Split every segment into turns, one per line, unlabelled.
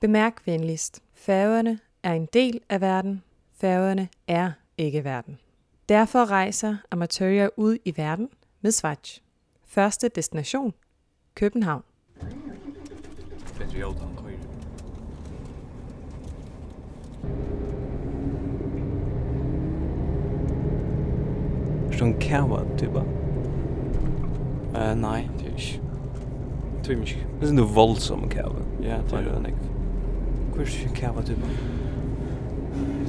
Bemærk venligst. Færøerne er en del af verden. Færøerne er ikke verden. Derfor rejser amatører ud i verden med Swatch. Første destination, København.
Bence yoldan koyun.
Sån kava typ va.
Eh, nei, det er ikke. Det er ikke.
Det är nu våldsam kava.
Ja, det er det ikke.
Hur är det kava typ?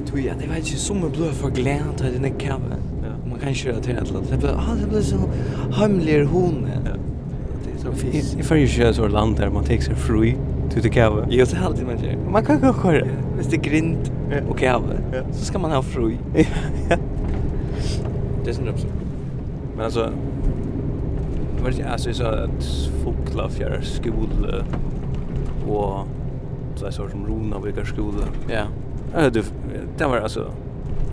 Tui, ja, det var ikke som jeg ble for glad til denne kave.
Ja.
Man kan ikke relatera til det. Det ble, ah, det ble så hemmelig hone.
Ja.
Det er så fisk.
I färger körs och land där man takes er free till the kava.
Jo, det er alltid man gjør.
Man kan gå kvar.
Hvis det er grint
Ja.
og kave,
Ja.
så skal man ha fru. Det er sånn det er absurd.
Men alltså det var inte alltså så att fåglar fjärrar skola och så här sorts som rona vilka skola.
Ja,
Ja, det det var alltså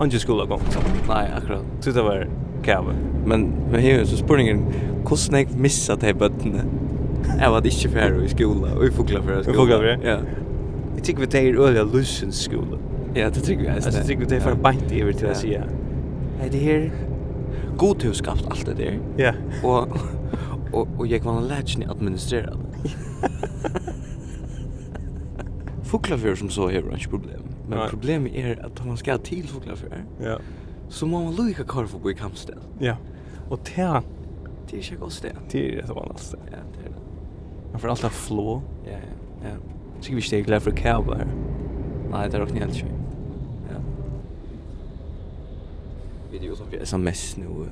Angie skola gång.
nei, akkurat.
Så det var kava.
Men vi har jo så spurningen, hvordan jeg missa de bøttene? Jeg var ikke ferdig i skolen, og i fugla ferdig i skolen.
fuglafjær?
Ja.
Jag tycker vi det är öliga lussens skola.
Ja, det trygg vi eisen.
Alltså jag tycker vi det är för bant över till
Ja.
att säga.
Nei, det her... God til å skapt alt det der.
Ja.
Og, og, og jeg kan lært ikke administrere det. Fuglafjør som så har ikke problem. Men
Nei.
problemet er at da man skal til fuglafjør,
Ja.
så må man lukka kvar for å gå i kampsted.
Ja. Och tä
Det er ikke et godt sted.
till det var nästa.
Ja, det er det.
Man får alltid flå.
Ja, ja, ja.
Tycker vi steg glad för kava här.
Nei, det er nok helt ikke. Ja. Vi er jo som vi er sms nå.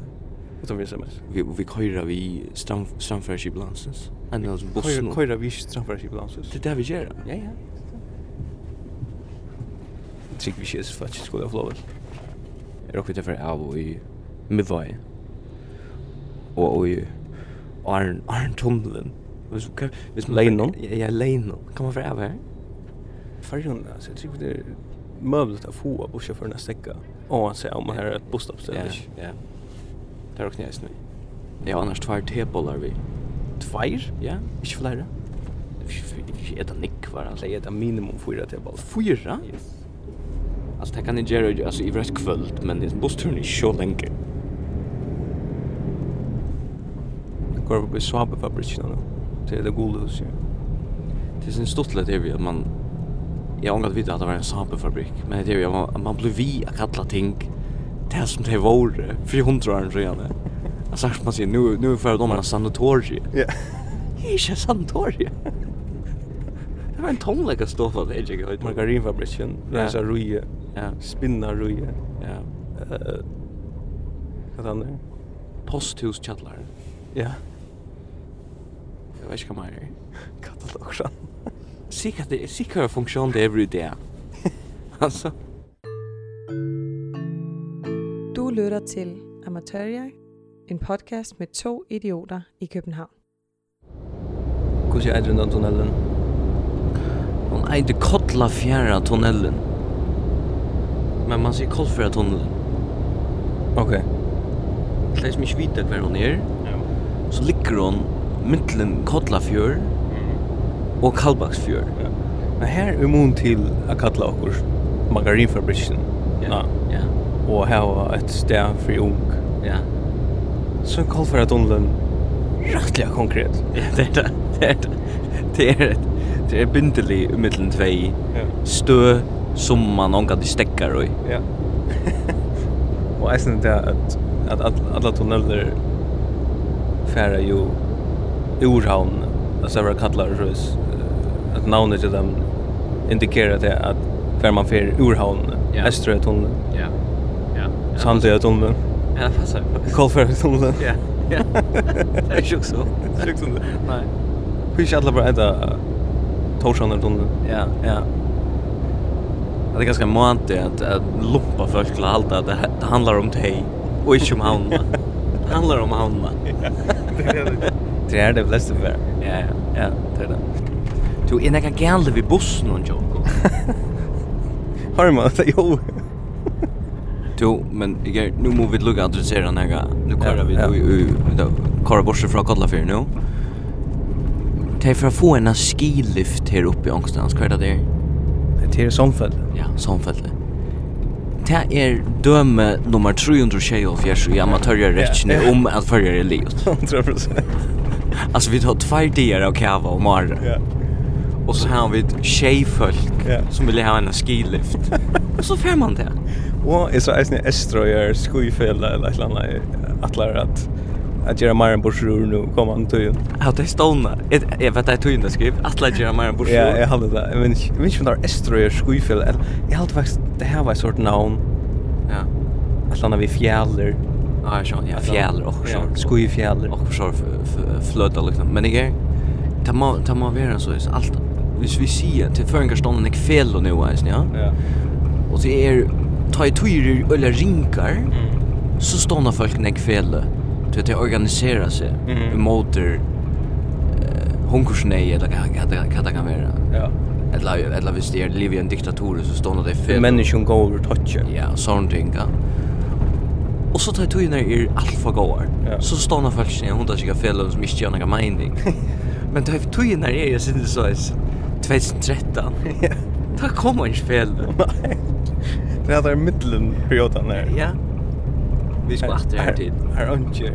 Utan vi sms.
Vi, vi køyrer vi stram, stramførskiplansens. Enn altså bussen.
Koira vi straffar sig ibland så.
Det er det vi gjør.
Ja, ja. Tycker vi känns för att skola flå.
er okkur tilfæri av og i Mivai og og i Arn, Arn Tunnelen Hvis, kan, hvis man
Leinon?
Ja, ja Leinon Kan man færi av her?
Färjan alltså jag tycker det är möjligt att få bussa för nästa vecka. Och han säger om man här är ett busstoppställe.
er ja Det er okkur næst nu Ja, annars tvær tebollar vi
Tvær?
Ja,
Ikke flere?
ikke eta nikvar altså
Det er et minimum fyra til ball.
Fyra? Altså, det kan jeg gjøre, altså, i hvert kvöld, men det er bussturen er så lenge.
Går vi på svabefabrikkene nå. Det er det gode huset.
Det er sånn stortlet er vi at man Jeg ångat vite at det var en sapefabrikk Men det er jo at man, at man blir vi å kalla ting Det som det var Fri hundra år siden Jeg sagt man sier, nu, nu er fyrir domarna sanatoriet
Ja.
Det er ikke sanatoriet Det var en tomlega stofa Det er ikke høyt
Margarinfabrikken,
Ja.
rensa ruje,
Ja,
spinna ruje.
ja
eh, Hva er det andre?
Posthus kjallar
Ja.
Jeg vet ikke hva mer er
Katalogsan.
Sikkert det er sikkert funksjon det er i det Altså
Du lytter til Amatørjag, en podcast med to idioter i København.
Hvordan er det under tunnelen?
Hon eide kottla fjæra tunnelen Men man sier kottfjæra tunnelen
Ok.
Tleis mig vita hver hon er Så ligger hon mittlen Kotlafjør og Kalbaksfjør
Men her er mun til å kalla okkur margarinfabrikken. Ja.
Ja,
Og her var et sted for ung.
ja
Så kall for at tunnelen rettelig konkret.
Ja, det er det Det er det Det er det Det er bindelig i mittlen tvei
Ja.
Stø som man omgat i stekkar og
Ja. og jeg synes det er at, at, at alle tunneler færer jo urhavn, altså hva kallar det røys, at navnet til dem indikerer det at hver man fer urhavn,
Ja.
yeah. Estrøya tunnelen,
Ja, ja
Sandøya tunnelen,
Ja, det passar
Kolfæra tunnelen.
Ja, ja Det er ikke så
Sjukt som det.
Nei
Hvor ikke alle bare etter Torsaner tunnelen.
Ja, ja. Det er är ganska månt att att lumpa folk till att halta att det, det handlar om dig och inte om honom. Det handlar om honom.
Det er det fleste færer.
Ja, ja, ja, det är det. Du er är näka gällde vid bussen och Joko.
Har man det? Jo.
Du, men jag är, nu måste vi lugga adressera näka. Nu
Ja,
kör vi
ja.
då i kör bort från Kotlafjärden nu. Det er for å få en skilift her oppe i Ångstens, hva er det der?
Det er somfell.
Ja, samfellet. Det er døme nummer 376 i amatørrerettene
Ja.
om at førjer er livet.
100%.
Altså, vi tar tvær dier av kava og mara.
Ja.
Og så har vi tjejfolk
Ja.
som vill ha en skilift. och så får man det.
Og er jeg så eisne Estroyer, Skuifela eller et eller annet atler at at gjøre mer enn borsrur nå kom han til igjen.
Ja, det är stående. Jag, jag vet att jag tog in det skriv. Alla gör mer än
Ja, jeg hadde det. Jeg minns jeg minns ikke om det var Estroyer, Skuifela. eller- Jeg hadde faktisk, det her var et sort navn.
Ja.
Et eller annet vi fjaller.
Ja, jag känner. Ja, fjäller och så.
Skuifjaller.
Och så för- för- flöta liksom. Men er- jag ta må ta må vara så är allt. Hvis vi ser till förringar stånden jag fel och nu alltså, ja.
Ja.
Och det är ta i tyr eller rinkar
Mhm. Mm.
så stående folk jag fel. Du vet, det organiserar sig.
Mhm.
Motor eh, hunkursnej eller vad det- vad det kan vara.
Ja.
Eller eller hvis det är liv i en diktatur så stående det fel.
Menneskjon går over touch.
Ja, sånn ting, ja. Og så tar tøyene er alt for gåar.
Ja.
Så står nå folk sin, hun tar sikkert fel som ikke gjør noen mening. Men tar tøyene er, jeg synes det så er 2013.
Ja.
Da kommer ikke fel.
Nei. Det hadde vært middelen perioden her.
Ja. Vi skal atter her tid.
Her er ikke.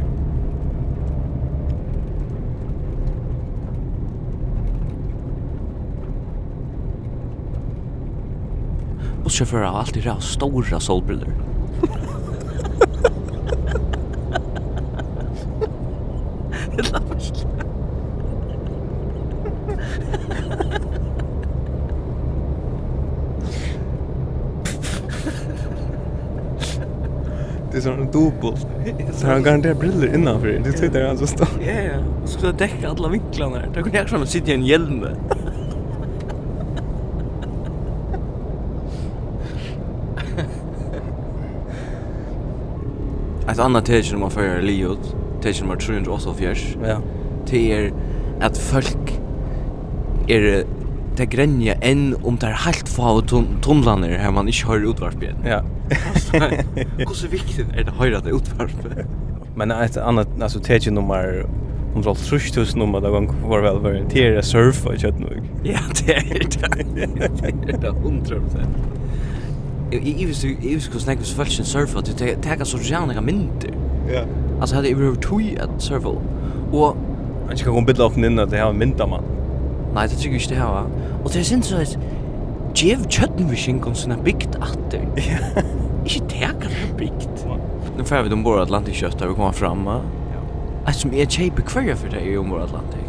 Bussjåfører har alltid ræv stora solbriller. Det la meg ikke.
Det er sånn dobbelt. Så har han garantert briller innanfor. Det sitter han så stått.
Ja, ja. Så skulle jeg dekke alle vinklene her. Da kunne jeg sammen sitte i en hjelm. Et annet teg nummer før er livet, teg nummer 388,
Ja.
det er at folk er det grenja enn om det er helt få av tunnlander her man ikke hører utvarpet.
Ja.
Hvordan viktig er det å høre det utvarpet?
Men ett annat alltså tredje nummer om trots trustus nummer där gång var väl för det är surf och kött nog.
Ja, det er det. Det er det hundra prosent. Jeg jeg visste jo jeg visste hvordan jeg visste faktisk en surfer, at det tager så gjerne mynter.
Ja.
Altså, hadde jeg behøvd tog at surfer. Og,
Han ska gå bidla upp in att det har en mynta
Er
man.
nei, det tykker jeg ikke det her, va? Og det er sin sånn at, Djev kjøttenvisjen kom sånn er bygd atter. Ikke tager det er bygd. Nå får vi ombord Atlantik kjøtt, da vi kommer fram, va? Eit som er kjeipe kvarja for det er jo ombord Atlantik.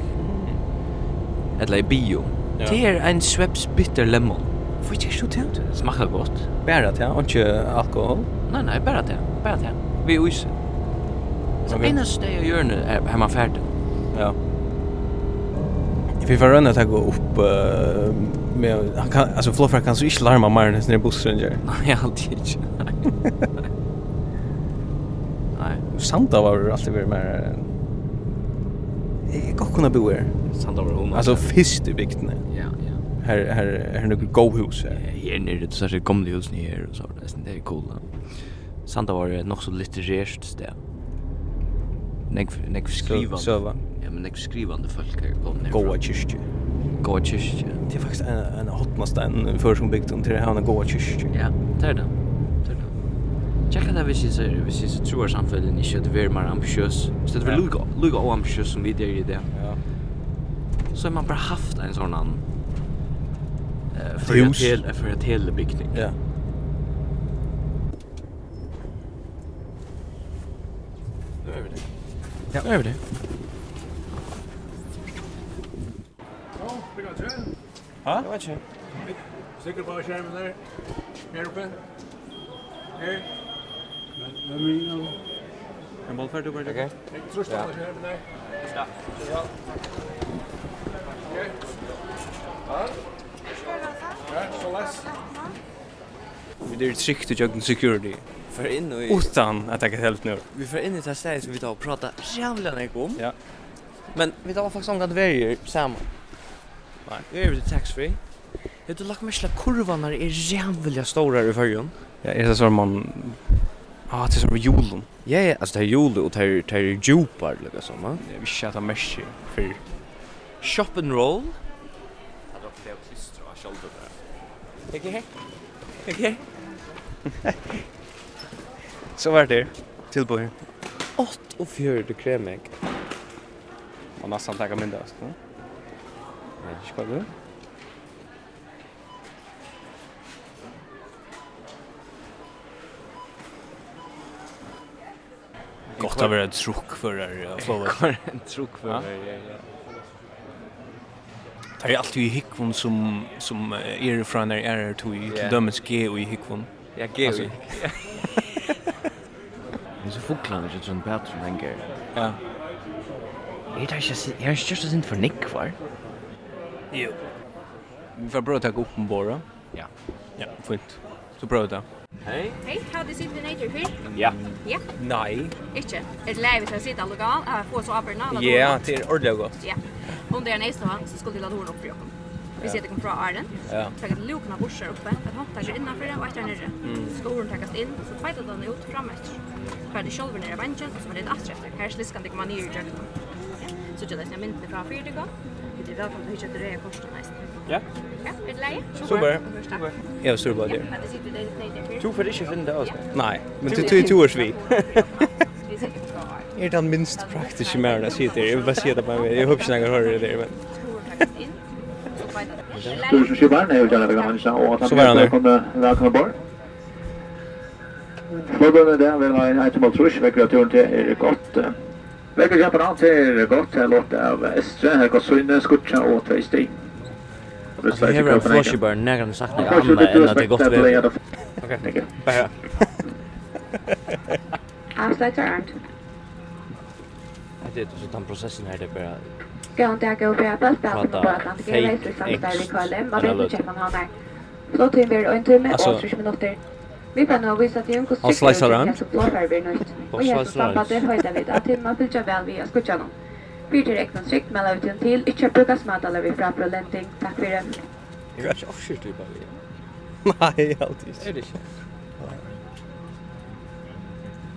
Eller i bio.
Ja.
Det er en Schweppes bitter lemon. Får ikke så til? Smakker godt.
Bära Er det, och inte alkohol.
Nei, nei, bara det. Bara det. Vi er use. Så
Ok.
okay. eneste jeg gjør nu er hemma färd.
Ja. Vi får rönna ta gå upp eh, med han kan alltså floffer kan så inte larma mer när det är bussen gör.
Nei, alltid ikke. Nei.
Santa var det alltid varit mer Jag kan eh, kunna bo här.
Nei, sanda var hun.
Alltså fyrst i vikten.
Ja, ja.
Här här här några go hus här.
Her nere, så er det gamle husene her og så. Det er det er cool. Da. Sanda var et nok så litterært sted. Nek, nek skrivande.
Söva.
Ja, men nek skrivande folk her kom ned.
Goa kyrkje.
Goa kyrkje.
Det är faktiskt en en hotnasten för som byggt om till det här en goa kyrkje.
Ja, det er det. Det er det. Tjekka det er hvis jeg ser, hvis jeg ser tror samfunnet ikke at vi er mer ambitiøs. Hvis det er
Ja.
lukka, lukka og ambitiøs som vi er i det,
Ja.
så har man bare haft en eh, sånn annen uh,
Hus.
for et hele bygning.
Ja.
Nå er vi det.
Ja.
Nå er vi det.
Ja, vet inte.
Stikker på skjermen der. Her oppe. Her.
En boll färd över. Okej.
Trus på skjermen der. Ja. Ja. Ja, så less.
Vi är tryggt och jag security.
For inn og i,
Utan att jag helt nu.
vi får inn i det stedet som vi tar og prater jævlig nek om.
Ja.
Men vi tar faktisk omgang verger sammen.
Nei.
Vi er jo tax-free. Vet du, lagt meg slik kurvan her er jævlig store i fargen.
Ja, er är det så man Ah, det är som julen.
Ja, ja, altså det er jule, og det er, det er djupar, liksom, va?
Jag vill chatta mesh för
Shop and roll. Jag dock det klistrar av shoulder där. Okej. Okej.
Så var det tilbud her.
8 och 4 kremig.
Man nästan tackar mindre. Nej, inte vad det är. Gott att vara truck för det här flowet.
Kvar en truck för
Ja.
mig. Ja, ja.
Det är alltid i hickvon som, som eh, är från när är här till
Ja.
yeah. dömes G och i hickvon.
Jag ger
Alltså-
ju. Det är så fåglarna som sån bättre längre.
Ja.
Jag tar inte jag är just inte för nick kvar.
Jo. Vi får pröva att ta upp en borra.
Ja.
Ja, fint. Så pröva det.
Hej.
Hei, har du sittet ned her?
Ja.
Ja,
Nej.
ikke. Er Et leiv til å sitte alle gal, jeg får så aperne alle
Ja, det är ordentligt gott.
Ja. Om det er næste gang, så skulle de la dårene opp for dere. Vi sier det kommer fra Arlen.
Ja.
Så jeg lukene borser oppe, at han tar seg innenfor det, og etter nere.
Mm.
Så skal ordene takkes inn, så feitet den ut fram etter. Så er det selv nere av benchen, og så var det en atre etter. Her er sliskan det kommer nye i døgnet. Så gjør det som jeg mynte fra fire til gang. Vi er velkommen til å kjøpe det korset næste.
Ja.
Ja, er det leie?
Super.
Super.
Jag står bara
Ja,
där.
det sitter det nede her.
Du får ikke finne det også.
Nej, men det tog två års er vi.
Vi sitter fra Arlen.
Är den Er minst praktiska männen att sitta där? Jag vill bara säga det er på mig. Jag hoppas inte jag hör det där. Men...
Tusen
Tusenskivaren er jo kjære Vegard Hansen, og at
Så var han
han
der.
er velkommen, velkommen bort. Forbundet det vil ha en eitemål trus, vekker turen til er godt. Vekker kjempen an til er godt, her låt av Estre, her går Sunne, Skutja og Tveisti.
Alltså här är en flashbar nära den saknar jag
Kanskje
amma
du
än att det är gott väder.
gott ved.
Bara
Avslutar armt.
det är så den processen här det är bara
Gå en dag og bære bøttbassen og bøttene. Det
Fake
kan reise samtidig i
eggs.
kolde. Man
Eller
vet ikke man har med. Så til vi er en time
Altså-
og 30 minutter. Vi kan nå vise at det er en god
Han slicer
sikker-
armt.
så blåfær vi nødt. Og
slicer
jeg så samt at det høyder vi da til man fylger vel via skutjene. Fyrt til rekna sikt, melder vi til en til, ikke bruker smadaler vi fra prolenting. Takk for det.
Jag är inte avskyrt typ av det.
Nej, alltid inte.
Är det inte?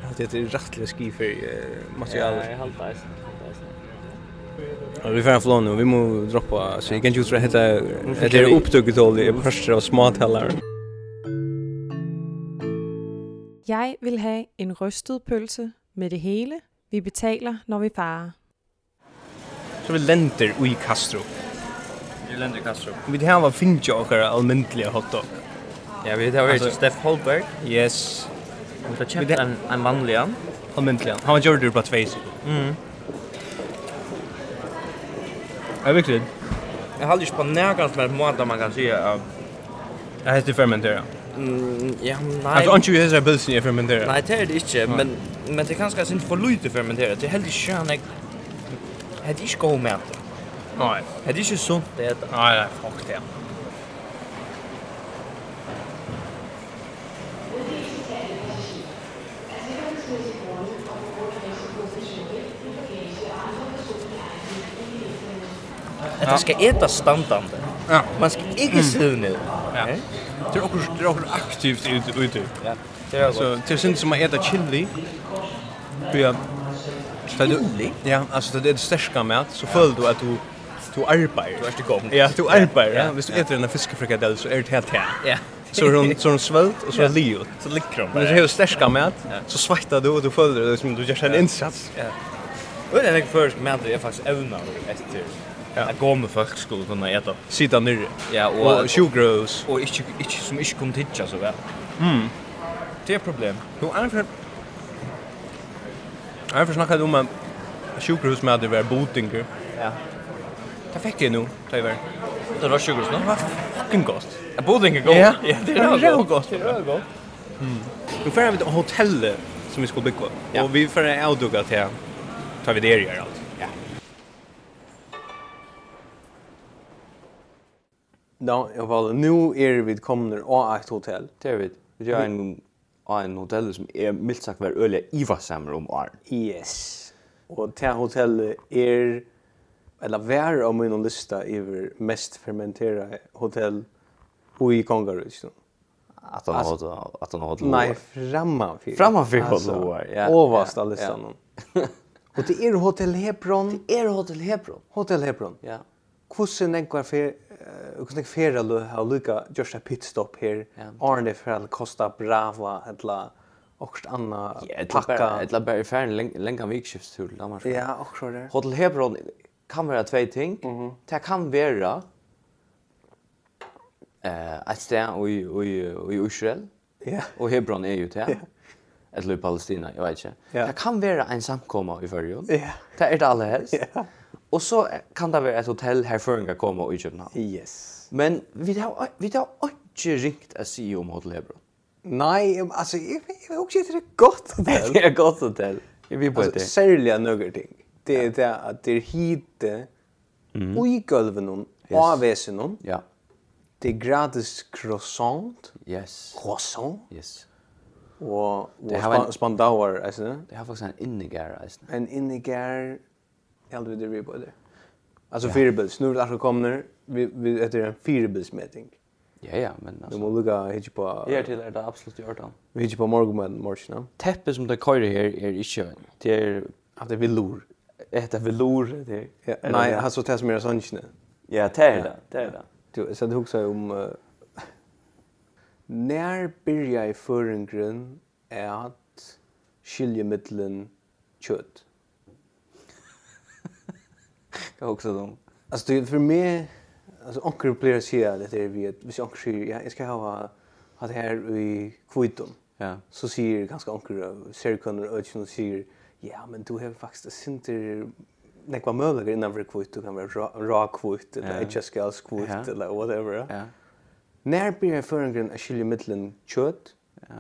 Alltid det är rättliga ski för eh, material.
Ja, jag haltar det.
Ja, Vi får en flån nu, vi må droppa. Så jag kan inte utdra hetta det är upptugget håll i första av småtallar.
Jeg vil have en rystet pølse med det hele. Vi betaler, når vi farer.
Så vi länder i Castro.
Vi lander i Castro.
Vi har var finja och allmäntliga hotdog.
Ja, vi tar
Altså-
vært Steff Holberg.
Yes,
Vi tar kjøpt en, en vanlig han.
allmäntliga. Han gjorde det på två sig.
Mm.
Ja, verkligen.
Jeg holder ikke på nærkant som en måte man kan si at...
Det heter fermentera.
Mm, ja, nei...
Alltså inte ju hesa bilsen jag fermentera.
Nei, det er det ikke, men, men det er kanskje ikke for lite fermenteret. Det er heller ikke han jeg... Det er ikke god mat.
Nej.
Det er ikke sunt det heter.
Nej, nej, fuck det.
Det skal ete standande.
Ja.
Man skal ikke stivne.
Ja. Det är också det är också aktivt ute ute.
Ja. Det er godt.
Så det syns som att äta chili. Ja. Så du
Chili?
Ja, alltså det är starka mat så följer du att du du arbetar.
Du er til gong.
Ja, du arbetar. Ja,
Ja.
hvis du äter en fiskefrikadell så är det helt här.
Ja.
Så är hon så er är hon svällt och så är
Ja.
liot.
Så ligger de
Men så
bare.
har du starka mat
Ja.
så svettas du och du följer det som du gör en insats.
Og det er ikke først mat det er faktisk evna etter. Ja. At gå med folk skulle kunne ete.
Sitta ner.
Ja,
Och sugros.
og ikke, ikke, som ikke kom tidsja så vel. Mm. Det er et problem.
Nu är för Jag försnackade
um
om en sjukhus med att det var botinger.
Ja.
Det fick jag nu, tyvärr.
Det var Er sjukhus nå.
Fucking gott.
Jeg bodde ikke god.
Ja.
ja, det
Det
er
er
det
vel godt.
Det er godt.
Nu får vi ett hotell som vi ska bygga. Ja. Och vi får en outduga till tar vi det här gör allt. Ja. Ja, i alla fall, nu är vi kommande av ett hotell.
Det är vi. Vi gör en av en hotell som är mildt sagt var öliga iva samar om år.
Yes. Och det här hotellet är eller var av min lista över mest fermenterade hotell i Kongarus.
Att han har att han har
Nej, framför.
Frammanför Loar, ja.
Överst av
Ja,
listan. Och det är Hotel Hebron.
är hotell Hebron.
Hotel Hebron.
Ja.
hvordan nekvar fer eh, hvordan nekvar fer alu har lukka just a pit stop her.
Ja.
Arne fer at kosta brava etla okst anna
Ja, ett
pakka.
bara ett bara i färden länka vikskift till Danmark.
Ja, och så där.
Hotel Hebron kan vara två ting.
Mhm.
Det kan vara eh ett ställe i i i Israel
Ja.
och Hebron är ju det. Eller i Palestina, jag vet inte.
Ja.
Det kan vara en samkomma i förrjun.
Ja.
Det är det allra helst.
Ja.
Och så kan det vara ett hotell här förrän kan komma i Köpenhamn.
Yes.
Men vi har vi har inte ringt att se om Hotel Hebron.
Nej, em, alltså jag jag också det är gott
Det er är ett gott hotell. Jag vill på
Alltså
det.
särliga några ting. Det är det att det är hite och i golven
Mhm. Yes.
och avväsen.
Ja.
Det är gratis croissant.
Yes.
Croissant.
Yes.
Og, og
Det har vært-
span, spandauer, altså det.
Det har faktisk en innegæra eisen.
En inniger, jeg aldri det vi på det. Altså firebils, nu er det akkurat kommer, vi, vi etter en firebilsmeting.
Ja, ja, men
Vi
altså.
må lukka hitje på,
Her til er det absolutt i orden.
hitje på morgenmaten morgen, no?
Teppet som det køyrer her er ikke, det er
At det vil lur.
et av velore, det er.
Ja, nei, altså det som er sannsjene.
Ja, det er det, det er det.
Du, så det hugsa om, uh, nær byrja i føringren er at skilje mittlen kjøtt.
Hva hoksa du um? om?
Alltså det för mig alltså onkel blir att säga det är vi att hvis onkel säger ja, jag ska ha ha det här i kvitton.
Ja.
Så säger ganska onkel ser kan och och säger ja, men du har faktiskt synter nekva möjligheter innan för kvitt, du kan vara ra, ra kvitt eller
Ja.
yeah. HSKLs kvitt
Ja.
eller whatever.
Ja,
När blir jag förengren att skilja mittlen kött
ja.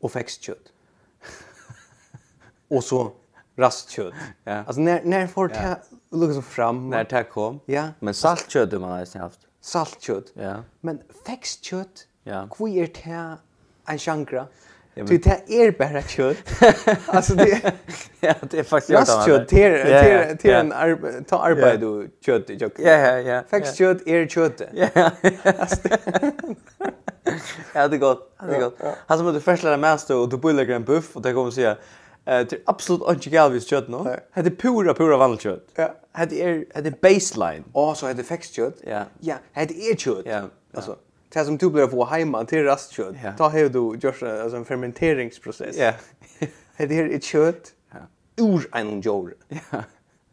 och växtkött? och så rastkött.
Ja.
Alltså när, när får det här lukka så fram?
Når det kom.
Ja.
Men saltkjøttet man har eisen haft.
saltkött.
Ja.
Men er fäxkött,
Ja.
hur är det en chankra?
Ja, men-
Du det är er bara kött. alltså det
Ja, det er faktisk
rastkött det
er-
är det är det är en
Ja,
arbe- ta arbete du kött i kött.
ja, ja, ja.
Fäxkött är kött.
Ja, ja. Ja, det er godt. Ja, det er godt. Han som er det første lærer mest, og du bøyler en buff, og det kommer å si, det er absolutt ikke galt hvis kjøtt nå. Det er pura, pura vanlig kjøtt.
Ja.
Det er, det er baseline.
Och så är det fäxkött.
Ja.
Ja, er det är kött.
Ja, ja.
Alltså Det som du blir få hemma till rastkött.
Ja.
Ta här du görs alltså en fermenteringsprocess.
Ja.
Det här är kött.
Ja.
Ur en jord.
Ja,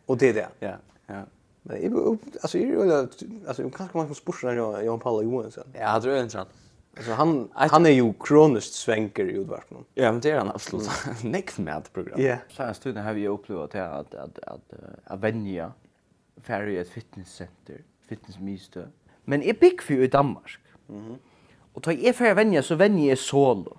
Och det är det.
ja, ja.
Men jag upp- alltså är det alltså kanske man kan spursa när Jan Paul Johansson.
Ja, det er interessant.
Alltså han han är ju kroniskt svänker i utvarpen.
Ja, men det er han absolutt. Nekv med et program.
Ja.
Særens tiden har vi opplevd til at, at, at, uh, at Venja færre i et fitnesscenter, fitnessmistø. Men jeg bygg vi jo i Danmark. Og da jeg færre Venja, så Venja er solo.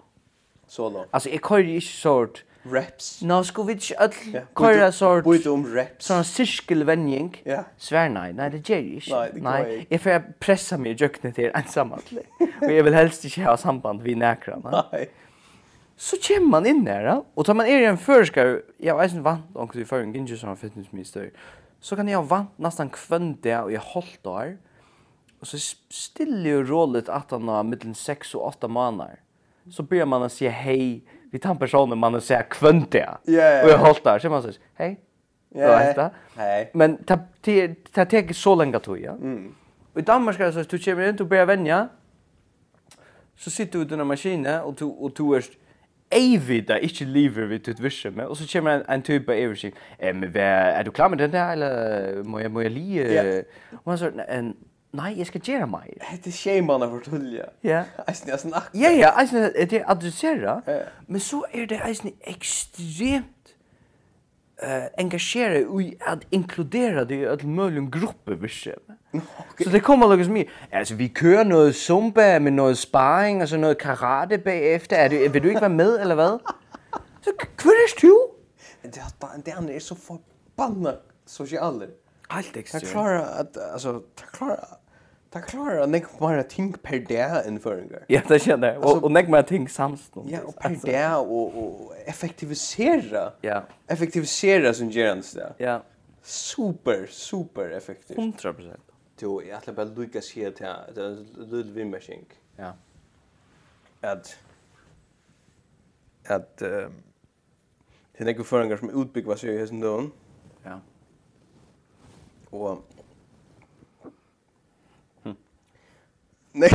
Så då.
Altså, jeg kører ikke sort.
Reps.
Nå skulle vi ikke alle kører sort.
Byt om um reps.
Sånn sirkelvenjing.
Ja.
Svær nei, nei, det gjør jeg ikke.
Nei, det kan jeg ikke.
jeg får pressa meg i er jøknet til ensam alle. Og jeg vil helst ikke ha samband vid nækran.
Nej.
Så kommer man inn her, da. og tar man er i en førskar, jeg var eisen vant onkel i føring, ikke som fitnessminister, så kan jeg ha vant nesten kvønn det, og jeg holdt der, og så s- stille og rålet at han har mittelen 6 og 8 måneder. Så blir man å si hei, vi tar personen man å si kvønn det,
Ja, ja, ja.
og jeg holdt der, så man sier hei,
Ja,
og etter.
hei. Mm.
Men det det- det tar så lenge tog, ja. Og i Danmark er det sånn, du kommer inn, du blir venja, så sitter du i denne maskinen, og du, og du er evig da, ikke lever vi til et virke med, og så kommer en, en type evig og sier, eh, men hva, er du klar med den der, eller må jeg, må jeg lige?
Ja.
Og han sier, "Nei, nei, jeg skal gjøre meg.
Det är scheman av förtulja.
Ja.
Alltså jag snackar.
Ja, ja, eisen, er det adressera,
Ja.
men så er det eisen ekstremt uh, engasjere i at inkludera det i et mulig gruppe virke med. Så det kommer något som är, alltså vi kör något zumba med något sparring och så något karate bagefter. Er du, vill du inte vara med eller vad? Så kvinners du?
Det är det andra är så förbannat socialer.
Allt
Jag klarar att alltså jag klarar jag klarar att näck bara think per dag in förringar.
Ja, det er känner jag.
Altså-
Och, och nägg mig ting samstånd.
Ja, och per dag och och effektivisera.
Ja.
Effektivisera som gerans där.
Ja,
Super super effektivt.
100 procent.
Jo, jeg ætla bare lukka sig til at det er en lille vimmersing.
Ja.
At at ehm er det er nekkur føringar som utbyggva seg i hessen døgn
Ja.
Og... Nei.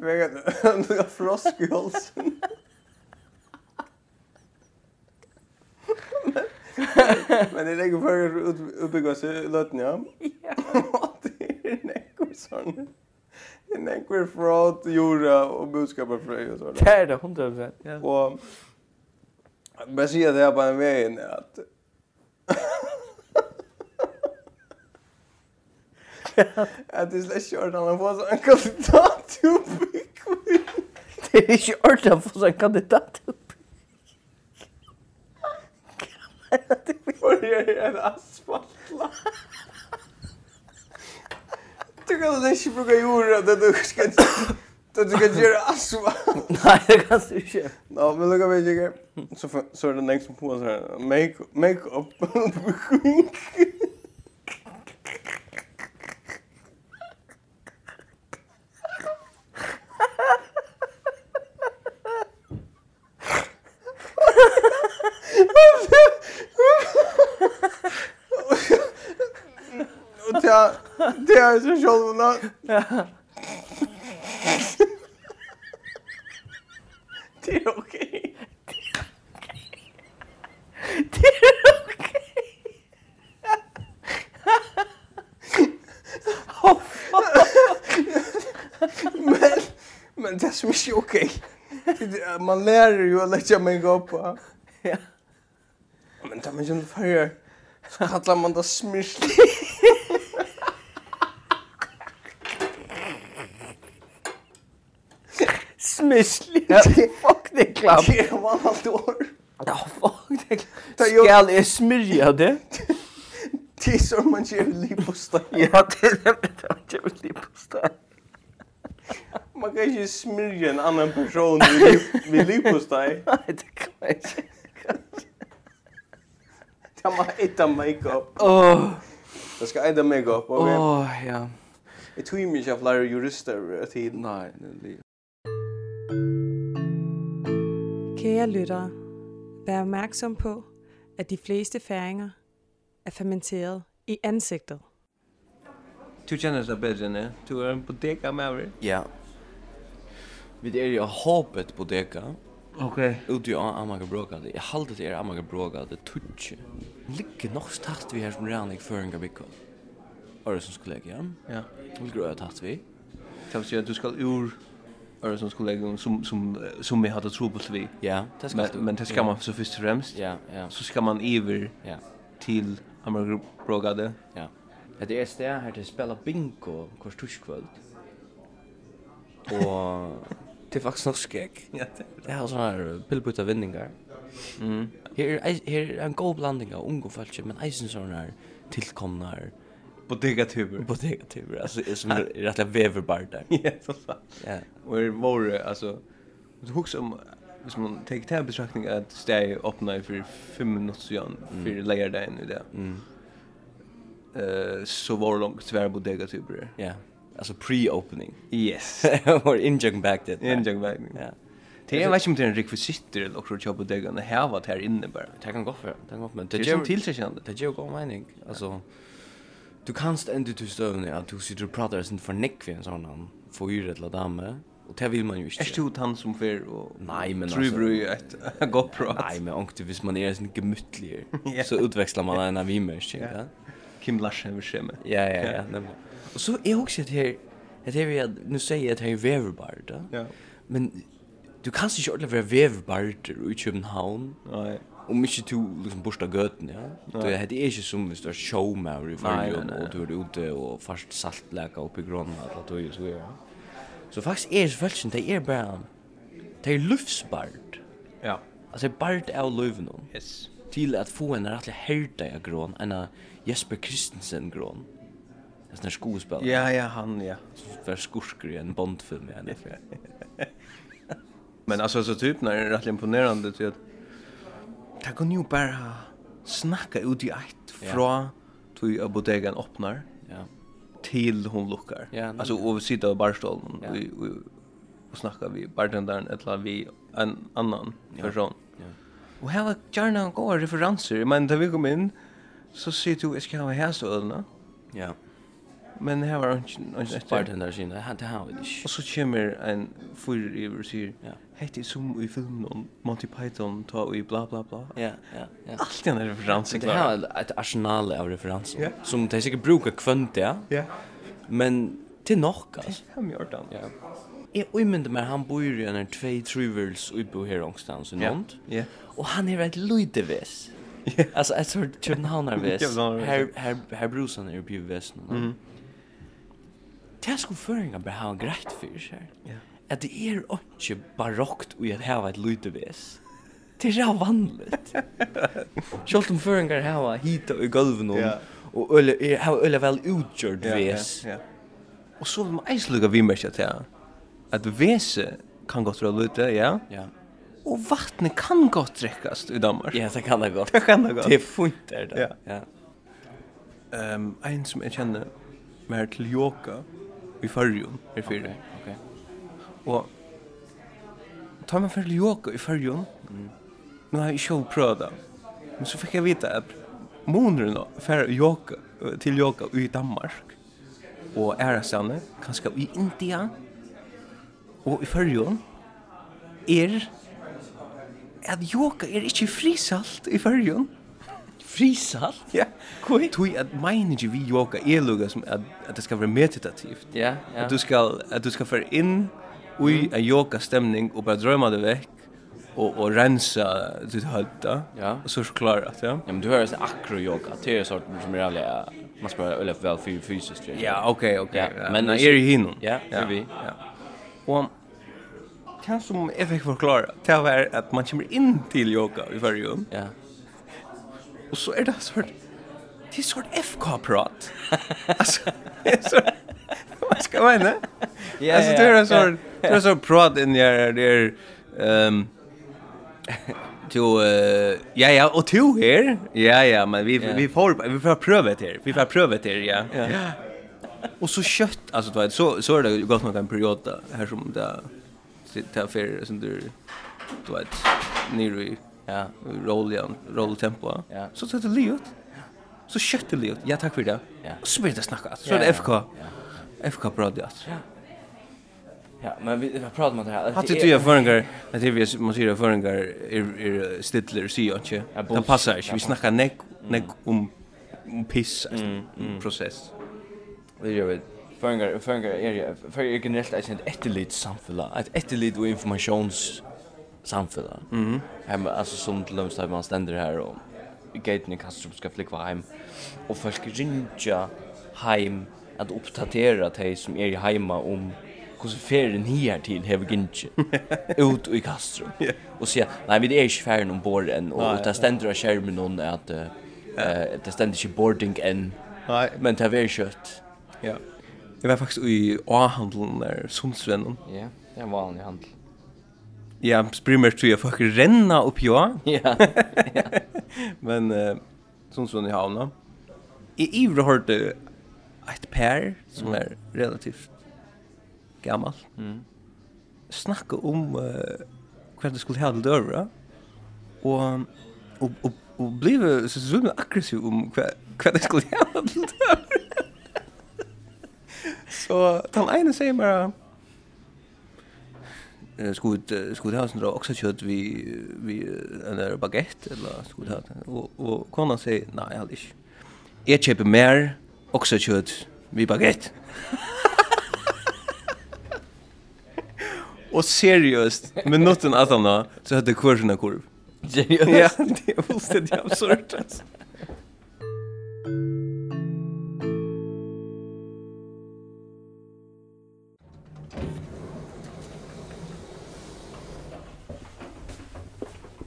Vegan, du har frosk i halsen. Men det legger for å utbygge seg i løtten, ja? Ja. det er nekker sånn. Det er nekker fra jorda og budskaper fra og sånn.
Det er det, 100%. Ja.
Og jeg bare sier det her på en veien er at at det er slett ikke ordentlig å få seg en kandidat til å bygge.
Det er ikke ordentlig å få seg en kandidat til
For jeg er en asfaltla. Du kan slett ikke bruke jorda det du skal det du kan gjøre asfalt.
Nei, det kan du ikke.
Nå, men lukka vi ikke. Så, f- så er det nekst på oss her. Make, make up. Og det er, det er så sjålvna. Det er ok.
Det er ok.
Men, men det som ikke er ok. det er- Man lærer jo å lägga make-up. va?
Ja.
Men tar man ikke noe färger. Så kallar man det smyrslig.
Smyslig. Ja, fuck det er klapp.
Det är man alltid år.
Ja, fuck det klapp.
Det er jo-
Skal jeg smyrja det?
Det är som man gör lipostej.
Ja, det er det. Det er ikke veldig på sted.
Man kan inte smyrja en annan person vid lip- vid lipostej.
Nei, det kan jeg ikke.
Det man äta make-up.
Åh,
Det ska äta make-up. Okay?
åh, ja.
Jag tror inte att flera jurister till
Nei, det er livet.
Kære lyttere, vær opmærksom på, at de fleste færinger er fermenteret i ansigtet.
Du kjenner deg bedre enn jeg. Du er en bodega med over.
Ja. Vi er jo hoppet bodega.
Ok.
Ute i Amagabrogade. Jeg halte det er Amagabrogade tutsi. Ligger nok tatt vi her som rann jeg før en gabbikon. Øresens kollega, ja.
Ja.
Ligger øye tatt vi.
Det vil si at du skal ur Øresundskollegion som, som, eh, som jeg hadde trobult vi.
Ja, det skal du.
Men, men det skal man så først og fremst.
Ja, ja,
Så skal man iver
ja,
til Amagabrogade.
ja. Det er et sted her til å spille bingo hver torskvöld. Og til faktisk nok skjegg.
Ja, det er
Det er sånne her pillbutta vinningar.
Mm.
Her er, eis- her er en god blanding av unge folk, men eisen sånne her tilkomne her
Bodega-tuber.
bodegatyper, altså som er rettelig veverbardar.
Ja, så sant.
Ja.
Og er våre, altså, du husker om, hvis man tar til betraktning at steg åpna for fem minutter siden, for leierdagen i det,
Mm.
eh, så var det langt svære bodega-tuber.
Ja. Altså pre-opening.
Yes.
Or injung back then.
Injøk vegning.
Ja.
Det er ikke om det er en rekvisitter eller akkurat kjøp bodegaen, det her var det her inne bare.
Det kan gå for. Det kan gå for. Men
Det
det
er som
gjør til.
tiltrekkende.
Det gjør god mening. Altså du kan stende til støvne at du sitter og prater sin for nekk ved en sånn han fyr eller dame. Og det vil man jo ikke.
Er du han som fer og
Nei, men
tror
altså-
bru i et godt prat?
Nei, men ångte hvis man er sånn gemyttlig,
Ja.
så utveksler man en av vimer, ikke?
Ja.
Ja.
Kim Larsen vil skjemme.
Ja, ja, ja. nemlig. Og så er også det her, det her er, nu sier jeg at det her er veverbart, da.
Ja.
Men du kan ikke ordentlig være veverbarter i København,
Nei.
om ikke du liksom borsta gøten, ja? Du, det er ikke som hvis du er showmauer i
nei,
fargen,
nei,
og du er ute og fast saltlæka oppe i grånene, eller du er så, ja. Så faktisk er selvfølgelig, det er bare, det er luftsbart.
Ja.
Altså, det er bart av løven om.
Yes.
Til at få en rettelig herda av grån, en av Jesper Kristensen grån. Det er sånn her skuespiller,
Ja, ja, han, ja.
som er skurker i en bondfilm, ja, det er
Men alltså så typ när det är rätt imponerande till att det kan ju bara snacka ut i ett
Ja.
från till apoteken öppnar
Ja.
till hon luckar.
Ja, nej.
alltså och sitta i barstolen
Ja.
och, och, och snacka vi bartendaren eller vi en annan person.
Ja.
Och här var gärna goda referenser. Men när vi kom in så ser du, jag ska ha här så ödna.
Ja.
Men här var inte efter.
Bartender sin, det här har vi
Och
ikke.
så kommer en fyr i och säger,
Ja.
hette som i filmen om Monty Python ta och i bla bla bla.
Ja, ja, ja.
Allt er den här referensen
Det
klar.
här är ett arsenal av referenser
Ja.
som de säkert brukar kvänt det,
Ja.
men till nog alltså.
Fem år då.
Ja. Jeg uimynda meg, han bor i en tvei truvels utbo her ångstans i er Nond.
Ja.
Og han er et lydde ves. Altså, et sort københavner ves.
Københavner ves,
Her, her, her brusan er bjøv ves.
Mhm.
Mm. Det er sko føringa bare ha greit fyrir seg.
Ja.
At det er ikke barokt ui at hava et lydde ves. Det er rau vanligt. Sjalt om føringar um hava hita i gulven om,
Ja.
og øle, er, hava øle vel utgjørt
Ja, ja,
ves.
Ja. Och så vill man ejsluga vi märka till att vese kan gott dra lite, ja.
Ja.
Och vattnet kan gott drickas i Danmark.
Ja, det kan det godt.
Det kan det godt.
Det er funt er det.
Ja.
ja.
Ehm en som jag känner med till yoga er i Färjön i Färjön.
Okej, okej.
Och tar man för till yoga i Färjön. Nu har jag ju provat. det. Men så fick jag veta att månaden då för yoga till yoga i Danmark och är sanne kanske i Indien och i Färjön är att er, yoga er är inte frisalt i Färjön.
Frisalt?
Ja. Kui. Tui at mine ikke vi yoga er lukka som at, at det skal være meditativt.
Ja, ja. Mm.
At du skal, at du skal føre inn ui en yoga stemning og bare drøyma det vekk og, og rensa ditt høyta.
Ja.
Og så er du klar at, ja.
Ja, men du hör sån akro-yoga. Det är sorten som är jävla... Man ska vara väl fy- fysiskt. tror jag.
Ja, ok, ok.
Ja, men
men
altså-
er i hinnom.
Ja, er vi.
Ja. Og det som jeg fikk forklara, det var at man kommer inn til yoga i Førjun,
Ja.
og så er det sort, det er sort FK-prat. altså, det er sort, hva skal jeg mene?
Ja,
alltså det är så det är så prat in där där ehm to eh ja ja och to här. Ja ja, men vi
Ja.
vi får vi får pröva det här. Vi får pröva det här, ja. Ja. Och så kött alltså du vet så så är det ju gått någon period där här som er- där sitter för som du du vet nere i
Ja.
roll igen, roll tempo.
Ja.
Så tar det livet. Så er kött det livet. Ja, tack för det.
Ja.
Och så blir det snacka. Så
Ja,
är det
ja,
FK. FK prat
Ja, men vi har pratat om det här.
Hatt det
er
ju förringar, att det vi man ser förringar är är stiller sig inte.
Ja, Mm.
Det
bullshit.
passar inte. Vi snackar neck neck om om um, piss alltså,
mm.
process.
Det gör vi. Föngar, föngar är ju... Föngar är generellt ett sånt etterlit samfälla. Ett etterlit och informations samfälla. Mm. Hem, alltså som till döms där man ständer här och i gaten i Kastrup ska flickva hem. Och folk rinja hem att uppdatera er dig som är i hemma om hur ferien här till hever gynnsje ut i Kastrup. Och säga, nej vi är inte färgen ombord än och, och det ständer av skärmen någon att uh, det ständer inte boarding än.
Nej.
Men det är väldigt kött.
Ja. Jag var faktiskt i A-handeln där Sundsvännen.
Ja,
er
det är en vanlig handel.
Ja, primärt tror jag folk renna upp jag,
Ja.
men eh, Sundsvännen i havna. I Ivre har det ett par som är relativt gammalt.
Mm.
snakka om uh, hva det skulle ha til døra, og, og, og, og blive så svimmer aggressiv om hva, hva det skulle ha til døra. så den ene sier bare, eh, skulle eh, skulle ha sånn oksekjøtt vi vi eh, en der baguette eller skulle ha det. og og kona sier nei jeg har ikke. Jeg kjøper mer oksekjøtt vi baguette. Og seriøst, minutten at han da, så hette kursen av kurv.
Seriøst?
Ja, det er fullstendig absurd, altså.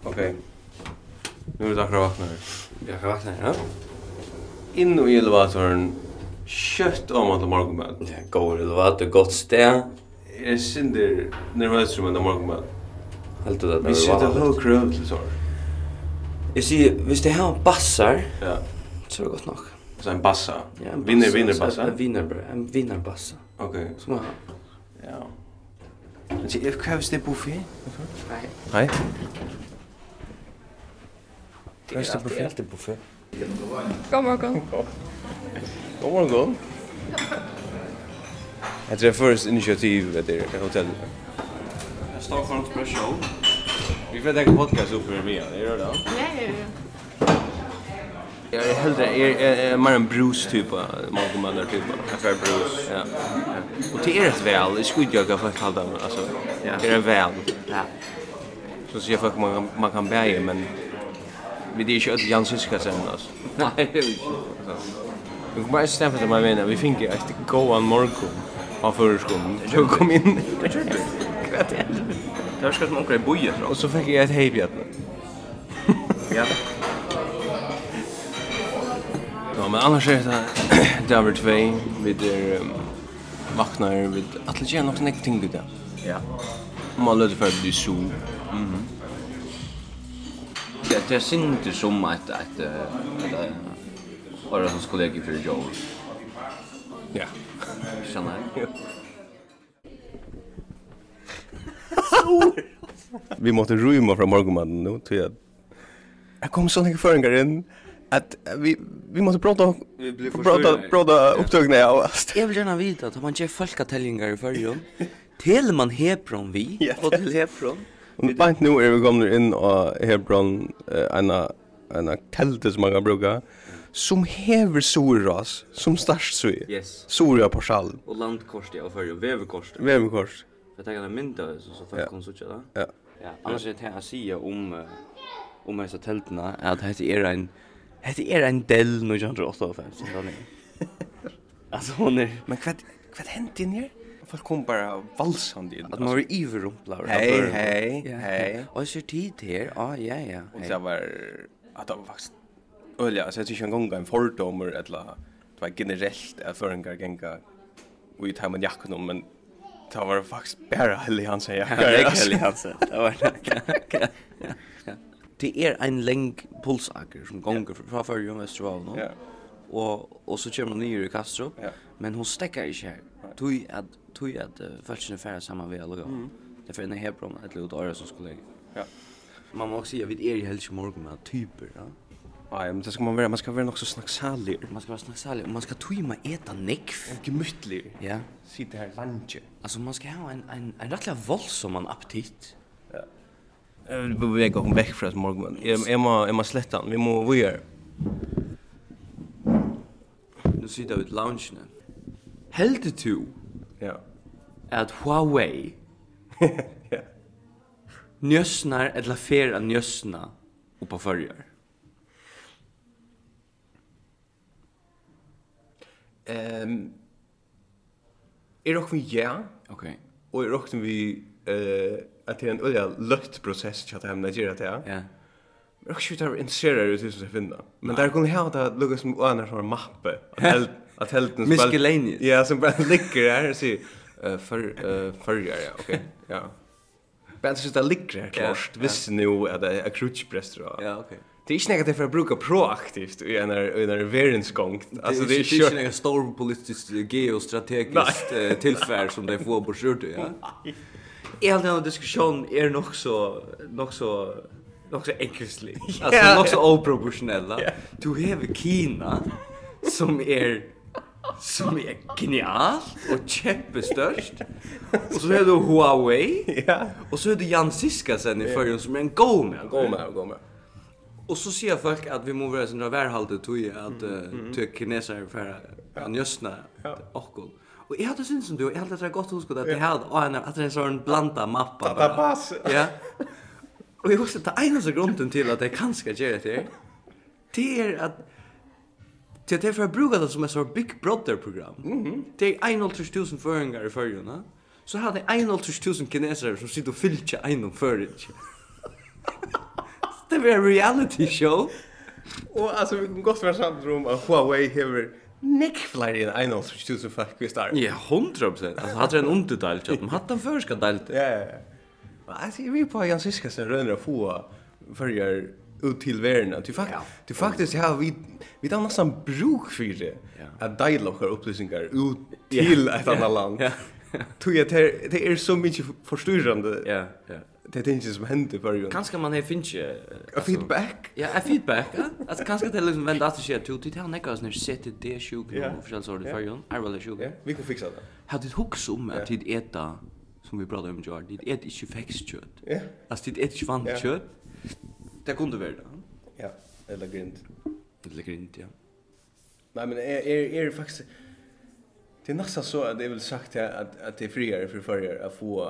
Okej.
er
Nu är det akkurat vakna här.
Jag kan vakna här.
Inn i elevatoren, kjøtt om at morgenmøt.
Det går relevant och gott städ.
Jeg synder nervøs om at morgenmøt.
Helt det där.
Vi
er
sitter hög grund till så.
Jag ser, visst det här har bassar.
Ja.
Så är det gott nog.
Så en bassa.
Ja, en
Vinner
bassa,
vinner
så
bassa.
En vinner en vinnarbassa.
Okej. Okay.
Som jag
Ja. Men se, jag krävs det buffé.
Nej.
Nej.
Krävs det buffé?
alltid buffé.
God morgon.
God morgon. Jag tror först initiativ vet det hotell. Stockholms Press Show. Vi får tänka podcast upp med mig. Det är det. Jag är hellre är är er, mer en brus typ av man där typ kaffe brus. Ja. Och det er är rätt väl. Det skulle jag kanske kalla det alltså. Ja. Det är väl. Ja. Så ser folk man man kan bära men vi er det är ju att Jansens ska sen alltså. Nej, det är ju. Vi kommer bara stämma till mig vänner. Vi fick ju att gå en morgon av förskolan. Jag kom in.
Det här ska som åker i bojen
Och så fick jag ett hejbjörn.
Ja.
Ja, men annars är det David 2 vid er um, vaknar vid att lägga något snäck ting vid det.
Ja.
Om man löser för att bli sol.
Mhm. Det det synd det som att att eh, att eh, vara hans kollega för Joel.
Ja.
Känner jag.
Vi måste rymma från morgonmannen nu till att
Jag kom sån här föringar in att vi vi måste prata
Vi blir
prata
förstörda.
prata upptagna ja.
Jag vill gärna veta att om man ger folkateljningar i färjan. Till man Hebron vi. Och till Hebron.
Men bant nu er vi kommer inn og Hebron eh, ena ena kälte som man kan bruka som hever soras som starst så är.
Yes.
Sora på skall.
Och landkorset jag för väverkorset.
Vemkors.
Jag tänker en mynd av det så så
Ja.
folk kommer så tjäna.
Ja.
Ja, annars er är det här att säga om eh, om dessa tältena att det är en det är en er del er nu jag tror också för Alltså hon är
men kvad kvad hänt in här? Folk kom bara valsande in.
Att man
er
var iverrumplad.
Hej, hej,
Ja.
hej.
Och så tid
er-
här. Ja, ja, ja.
Och det var att det var faktiskt Ölja, så jag tycker en gång en fördomar eller det var generellt att föringar gänga och i tajmen jackor men det var faktiskt bara Helly Hansen jackor.
Ja, det är Helly Hansen. Det var det. Det är en läng pulsaker som gånger fra Førjum Vesterålen.
Ja.
Og, og så kommer hun nye i Kastrup,
Ja.
men hun stekker ikke her. Tui at, tui at uh, følelsene færre sammen ved alle gang.
Mhm.
Det er for en hebron, et eller annet som skulle legge.
Ja.
Man må også si at vi er i helst morgen med typer, ja.
Nej, men det ska man vara, man ska vara också snacksalig.
Man ska vara snacksalig och man ska tuima äta nekv.
Och gemütlig.
Ja.
Sitta här lunch.
Alltså man ska ha en, en, en rättliga våldsam en appetit.
Ja. Jag vill bevega om väck från morgonen. Jag jag må jag må slätta. den. Vi må vi gör.
Nu sitter vi i loungen. Heldig du
Ja.
at Huawei
Ja.
njösnar eller fer att njösna och på förjar.
Ehm Är också er ja.
Okej.
Och är också vi eh att det är en öliga lätt process att hem Nigeria till. Ja.
Men
Jag skulle ta intresserad ut hur som finna. Men där kunde jag ha lukka som annars har en mappe. Att helt att helt
Miscellaneous.
Ja, som bara ligger där och säger eh för eh förjar ja, okej. Ja. Men så det ligger här klart.
ja.
Visst nu att det är krutchbröst då.
Ja, okej.
er Det er är inte något för att bruka proaktivt i en i en verinsgång.
er
Alltså det er är
ju inte
kört.
en stor politisk geostrategisk eh, tillfär som de får på sjut, ja. All den här diskussion är nog så nog så nog så enkelslig. Alltså nog så oproportionella. Du har Kina som är som är genialt och kämpestörst. Och så har du Huawei.
Ja.
Och så har du Jan Siskasen i förrjun som er är en go man.
Gå med, gå med.
Och så ser folk att vi måste vara sådana värhaltet tog ju att
mhm.
uh, tog kineser för att njösna och kul. Och jag hade syns som du, jag hade det gott hos att jag hade och en att det är en sån blanda mappa.
Ta- ta
bara.
pass.
Ja. Och jag måste ta en så grunden till att jag kan ska göra det. Det är att Till att jag får bruka det som ett sånt er Big Brother-program. Mm. Det är 1,5 föringar i förrjuna. Så hade 1,5 kineser som sitter och fylltja en föringar. Det var en reality show.
Och alltså vi kan gott vara samt om att Huawei har neckflyer i en einhåll som 2000 fuck vi starr.
Ja, 100 procent. Alltså hade en underdel, jag hade en förska del.
Ja, ja, ja. Alltså vi er på Jan Siskasen rönner få förjar ut till världen. Du fakt du faktiskt har vi vi har nästan bruk för det. Att dialog och upplysningar ut till ett annat land. Tog jag det er- det är så mycket förstörande.
Ja, ja.
Det är inte som händer förjar.
Kanske man har finns ju
feedback.
Ja, a feedback. eh? ja. Alltså kanske det är er liksom vända att shit till till han näkas när sitter det sjuk
Ja.
och förskäl sort
Ja.
för Jon. Är väl sjuk.
Vi kan fixa det.
Har du hooks om
Ja.
att tid äta som vi pratade om Jordan. Det är inte växtkött.
Ja.
Alltså det är inte
Ja.
vanligt kött. Det kunde vara.
Ja, eller grind.
Eller grind, ja.
Nej men är är är faktiskt er det är nästan så att det är väl sagt här att att det er är friare för förjar att få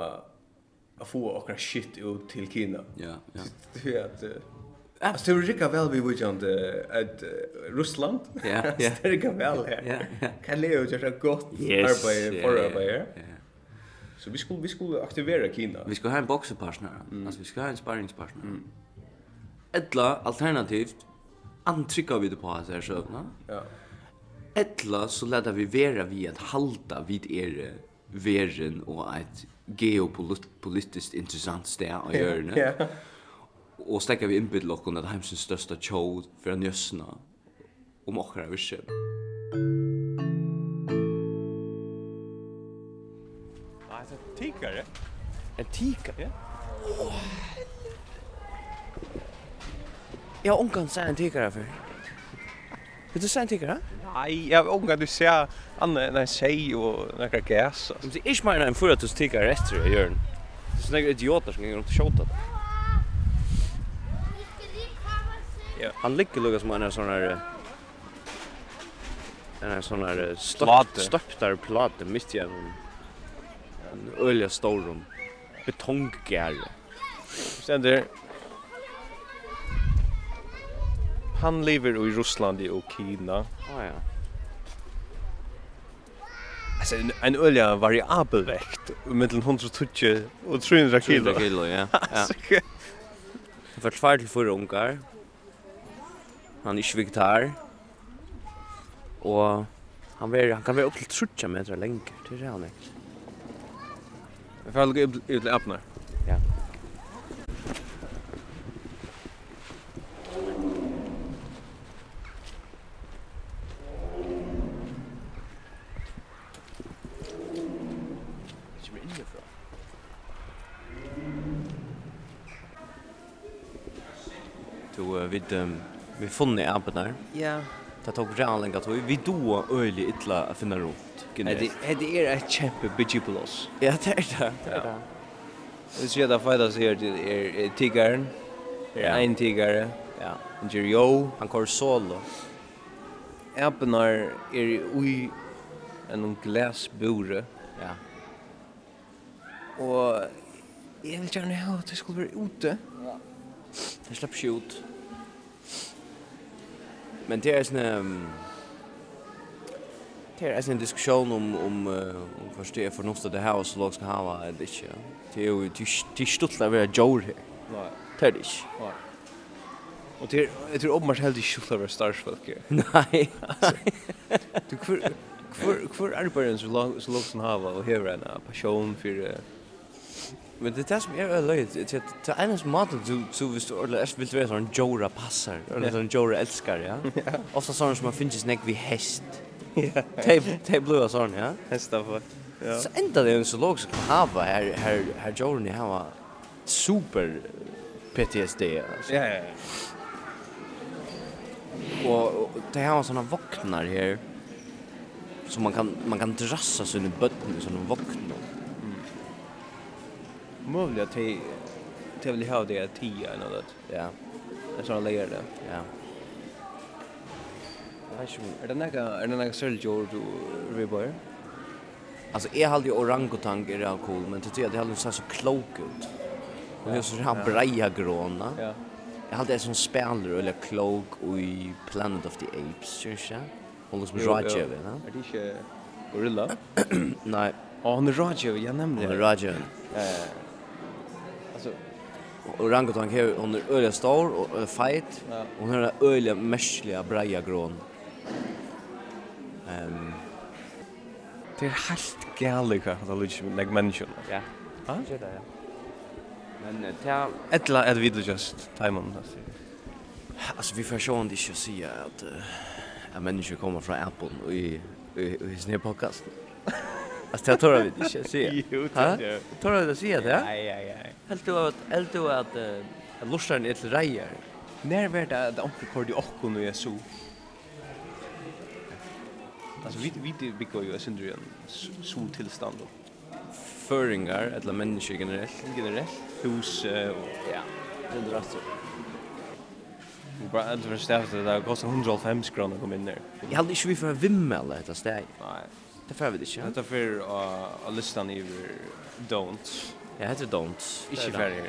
att få åkra shit ut till Kina.
Ja, ja.
Det är att eh, Alltså det rikar väl vi vid att att Ryssland.
Ja,
Alltså,
ja.
eh, Det er rikar väl här.
Ja, ja.
Kan Leo göra gott
Yes,
arbete
ja,
för
ja,
arbete. Så vi skulle vi skulle aktivera Kina.
Vi ska ha en boxepartner.
Mm.
Alltså vi ska ha en sparringspartner. Ettla alternativt antrykka vi det på oss här sövna.
Ja.
Ettla så lätta vi vera vi att halta vid er veren och ett geopolitiskt intressant ställe att
Ja,
göra.
ja.
Och stäcka vi inbydda oss att hemsens största tjod för en jössna om åkra visse.
Nej, det tickare.
En tika?
Ja.
Jag har omgått en tiggare för. Vill du säga en tiggare?
Nej, jag vet inte att du ser Anna när säg och några gas.
Men det är inte mer än förra tusen tiggare efter jag gör den. Det är sådana idioter som går runt och tjåtar. Ja. Han ligger lugga som en av sådana
er-
här... En av sådana här
Plate.
stöptar plate mitt i en...
um-
En ölja storum. Betonggärre.
Ständer. Han lever i Ryssland och Kina.
Ah, ja.
Alltså en, en ölja variabel väkt mellan 120 och 300 kilo.
300 kilo, ja.
Alltså,
ja. Han var tvær til fyrre ungar. Han er ikke vegetar. Og han, ver, han kan være opp til 30 meter lenger. Det er det han er.
Jag får lägga ut till appnar.
Ja. Kommer inn herfra. Du, eh, vi, um, vi funnet appnar.
Ja.
Det tok redan lenge tog. Vi doa øyelig ytla å finne rundt.
Det
generelt.
är det är ett kämpe bitchy plus.
Ja, det er det. Det er
Ja.
det.
Vi ser där fightas här till är är tigern.
Ja.
Ja. En tigare. Ja. En Jirio.
Han kör solo.
Appnar är i en glasbure.
Ja.
Och jag vill gärna ha att det skulle vara ute. Ja.
Det slapp ikke ut. Men det er sånn... Um, det er sånn en diskusjon om, om, uh, om først det er fornuftet det her, og så lov skal hava eller ikke. Det er jo det er ikke- det er ikke stått å være jord her.
Nei.
Det er det ikke.
Nei. Og det er, jeg tror åpenbart heldig ikke skulle være starsfolk her.
Nei.
Du, hvor, hvor, hvor er det bare en så langt som hava og hever en passion for... eh,
Men det er det som er øyelig løyet. Det er det er eneste maten du, du hvis du ordentlig er, vil du være sånn jora passer, ordentlig
Ja.
sånn jora elskar, ja?
Ja.
Ofta sånn som man finnes nek vi hest.
Ja.
Det er blod sånn, ja?
Hesta for. Ja.
Så enda det er en zoologisk hava her, her, her jordan i hava super PTSD, altså.
Ja, ja,
Og, og det hava sånne voknar her, som man kan, man kan drassa sånne bøtten, sånne voknar.
Möjligt att de, de vill ha det här tia eller något.
Ja.
En sån lägger det.
Ja. er
Är Er det några, är det några särskilt jord du vill börja?
Alltså jag hade ju orangutang är det er cool, men det är det hade så så klok ut. Och det är så här
Ja.
breja gråna.
Ja.
Jag hade en sån spelare eller klok i Planet of the Apes, syns jag. Hon som
Jo, ja.
Rajev, va?
Är Er det inte gorilla?
Nej.
er Ja, hon är Rajev, jag nämnde
Hon är Rajev.
Ja, ja.
Eh,
Alltså,
Orangutang här, hon är öliga stor och öliga fight.
Ja.
Hon har den öliga märsliga breja grån. Ehm,
er det är helt gärligt att det låter som en människa.
Ja.
Ja?
Det är det, ja.
Men eh, det er
Etla at vi just time on us.
Alltså vi får
um
sjå om det inte säga att
eh,
uh, att människor kommer från Apple och i i, i sin podcast. Alltså det tror jag vi inte säga.
Jo, det
Ha?
tror
er-
jag.
Tror du det säger det?
Nej, nej, nej.
Helt du att helt du att eh, att lustaren är till rejer.
När var det att onkel Cordy och hon och jag så? Alltså vi vi det bygger ju sin drön så tillstånd då.
Föringar eller människor generellt
generellt hus eh, och ja, det drar så. Vi bara alltså förstår att det där kostar 105 kronor att komma in där.
Jag hade inte vi för att vimma eller detta steg.
Nej.
Det får vi det inte.
Detta för uh, att listan över don'ts.
Ja, det är don'ts.
Inte färre.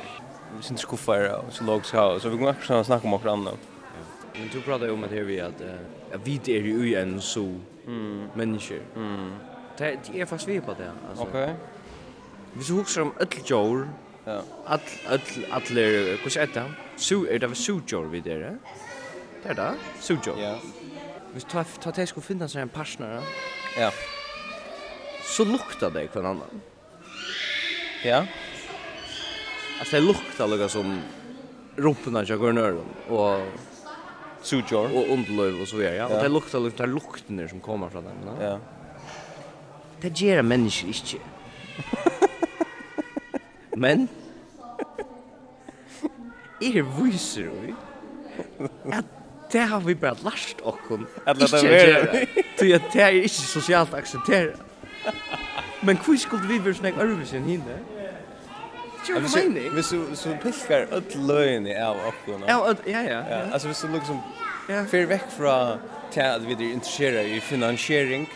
Vi syns skuffar och så låg så så vi går också att snacka om något annat.
Men du pratar ju om att det är vi att eh, att vi är ju i en så människor.
Mm.
Det det är fast vi på det. Alltså.
Okej.
Vi så huxar om um öll jord.
Ja.
All all allir er kus etta. Så är det så jord vi där. eh? Det är det. Så jord.
Ja.
Vi tar tar det ska finna sig en partner. eh?
Ja.
Så luktar det kvar annan.
Ja.
Alltså det luktar lika som rumporna jag går ner och
sujor
och underlöv och så vidare. Ja.
Ja.
Och det luktar luktar lukten som kommer från dem.
Ja.
Det ger människor inte. Men er viser vi at det har vi bara last och kon.
Att låta vera.
Du att det är inte socialt accepterat. Men hur skulle vi vara snägg översen hinne? Jo,
Alltså,
men nej.
Hvis du så pilkar öll lögni av okkurna.
Ja, öll- ja, ja,
Ja,
ja.
alltså hvis du liksom fer vekk fra til at vi er interessera i finansiering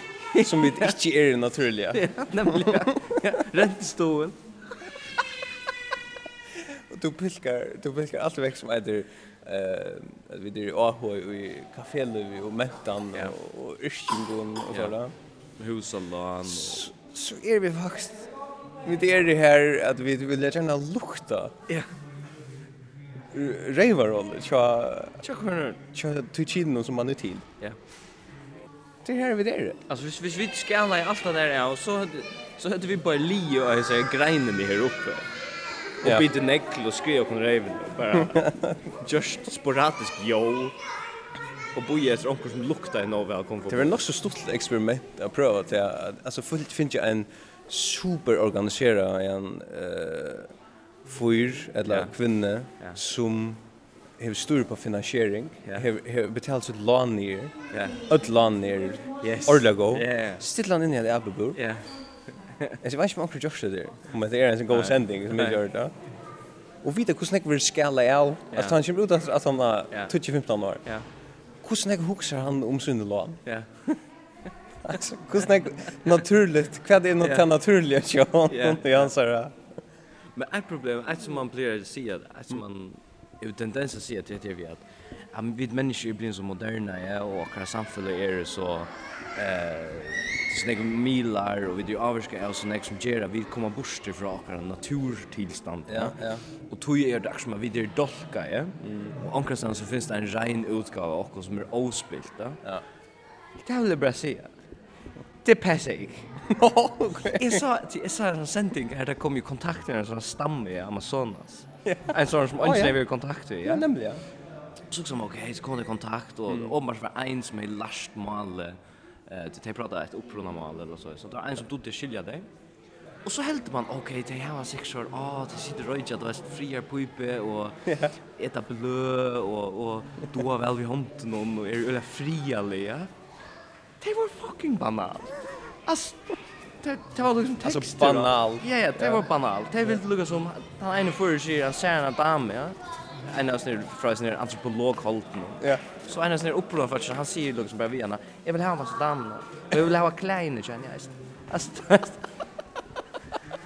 som vi ikke er i naturliga.
Ja, nämligen. Räntestolen.
Og du pilkar, du pilkar alt vekk som heter eh at vi er i AH og i kaféliv og mentan og, og yrkingun og
Ja.
sådär.
Husalan.
Så er vi faktisk Vi er i her at vi vil gjerne lukta.
Ja.
Reivarolle, tja...
Tja, kommer
Tja, tuchino som man er til.
Ja.
Det här vi där.
Alltså hvis, hvis vi skala i allt det där ja, så hade så hade vi bara li och så greinen här uppe. Och
Ja.
ja. bytte näckel och skrev och reven bara just sporadisk jo. Och boja efter onkel som luktar en av välkommen.
Det var nog så stort experiment att pröva att jag alltså fullt finns ju en superorganiserad en eh fyr eller
Ja.
kvinna som har styr på finansiering, har har betalt sitt lån ner.
Ja.
Ett lån ner.
Yes.
Orlago.
Ja.
Stilla han in i det Abbebur.
Ja.
Jag vet inte om onkel Josh är där. Om det är en sån god
Nej.
sending som jag
Nej.
gör det. Och vita hur snäck vill skala av.
Ja.
Alltså han kommer ut att han er är
Ja.
20-15 år.
Ja.
Hur snäck huxar han om sin lån?
Ja.
Alltså, hur snäck naturligt, vad är något
Ja.
ja. naturligt jag har
Ja.
inte jag anser.
Men ett problem är som man blir att se att som man ju tendens att se att det är vi att ja, men vi människor blir så moderna ja och våra samhälle är så eh snägg milar och vi det avskar oss nästa som ger att vi kommer bort från våra naturtillstånd.
Ja, ja.
Och tog är det som att vi det dolka ja.
Mm.
Och ankrastan så finns det en rein utgåva av oss som är ospilt ja.
Ja.
Det vill jag bara säga. Det passar inte. Okej. Jag sa jag sa en sändning här där kom ju kontakt med en sån stamme i Amazonas. En sån som
Ja,
inte
ja.
lever i kontakt med.
Ja, nämligen. Mm.
Så som okej, så kom det kontakt och om man var en som är last mal eh det pratade ett upprona mal eller så så det var en som tog det skilja dig. Och så hällde man okej, det här var sex år. Ah, det sitter röjt att det friar pipe och äta blö och och då väl vi hånd någon och är eller fria er ja. Det var fucking banal. Alltså det det var liksom
Alltså,
texter. och-
banal.
Ja, ja, det
Ja.
var banal. Det vill lukka som han ene förr säger han ser en dam, ja. En av snir fra snir antropolog holden.
Ja.
Så en av snir uppror för han säger liksom bara vi henne. Jag vill ha en massa dam. Och jag vill ha kleine känner jag. Alltså.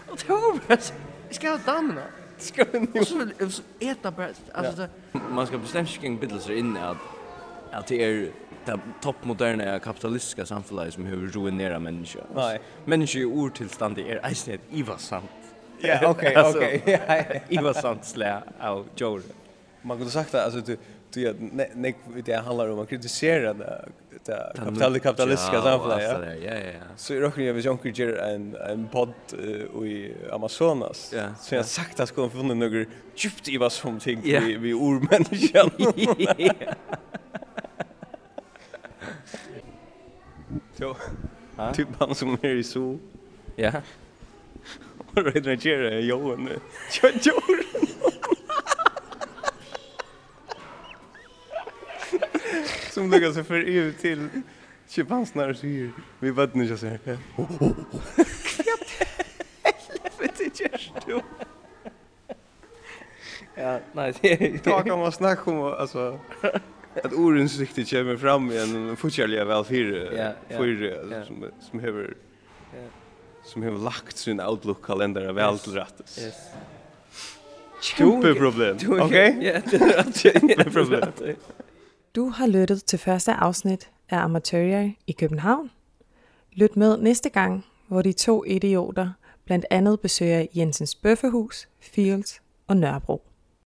Och det var bara så- jag ska ha dam då.
Ska ni
Och så vill och så äta bara alltså
Man ska bestämma sig kring
bildelser inn at at det er det toppmoderne kapitalistiske samfunnet som har ruinert mennesker.
Nei.
Mennesker i ordtilstandet er eisen et ivasamt.
Ja, okej,
Altså,
okej. Ja, ja.
Ivasamt slæ av Joel.
Man kunde sagt att alltså du du att nej det handlar om att kritisera det det kapital kapitalistiska
Ja,
samhället
och
ja.
allt det där, ja, ja, ja.
Så är också jag vill ju en en podd eh, i Amazonas.
Ja,
Så jag
ja.
sagt att skulle funnit några djupt i vad som ting
Ja.
vi vi urmänniskan.
Ja.
Jo. Typ han som är i zoo.
Ja.
Och redan är Johan. Jo, jo. Som lägger sig för EU till chimpanserna och säger vi vet inte jag säger. Helvete görs du? Ja, nej. Då kan man snacka om alltså att orden så riktigt kommer fram i en fortjärliga väl fyra
Ja, ja,
fyra
ja.
alltså, som som behöver som har lagt sin outlook kalender väl
Yes,
till rätt.
yes.
Kjempe problem.
Du- du-
Okay?
Ja, det er rätt. Ja, det er
Kjempe problem.
rätt.
Du har lyttet til første afsnit af Amatører i København. Lyt med næste gang, hvor de to idioter blandt andet besøger Jensens Bøffehus, Fields og Nørrebro.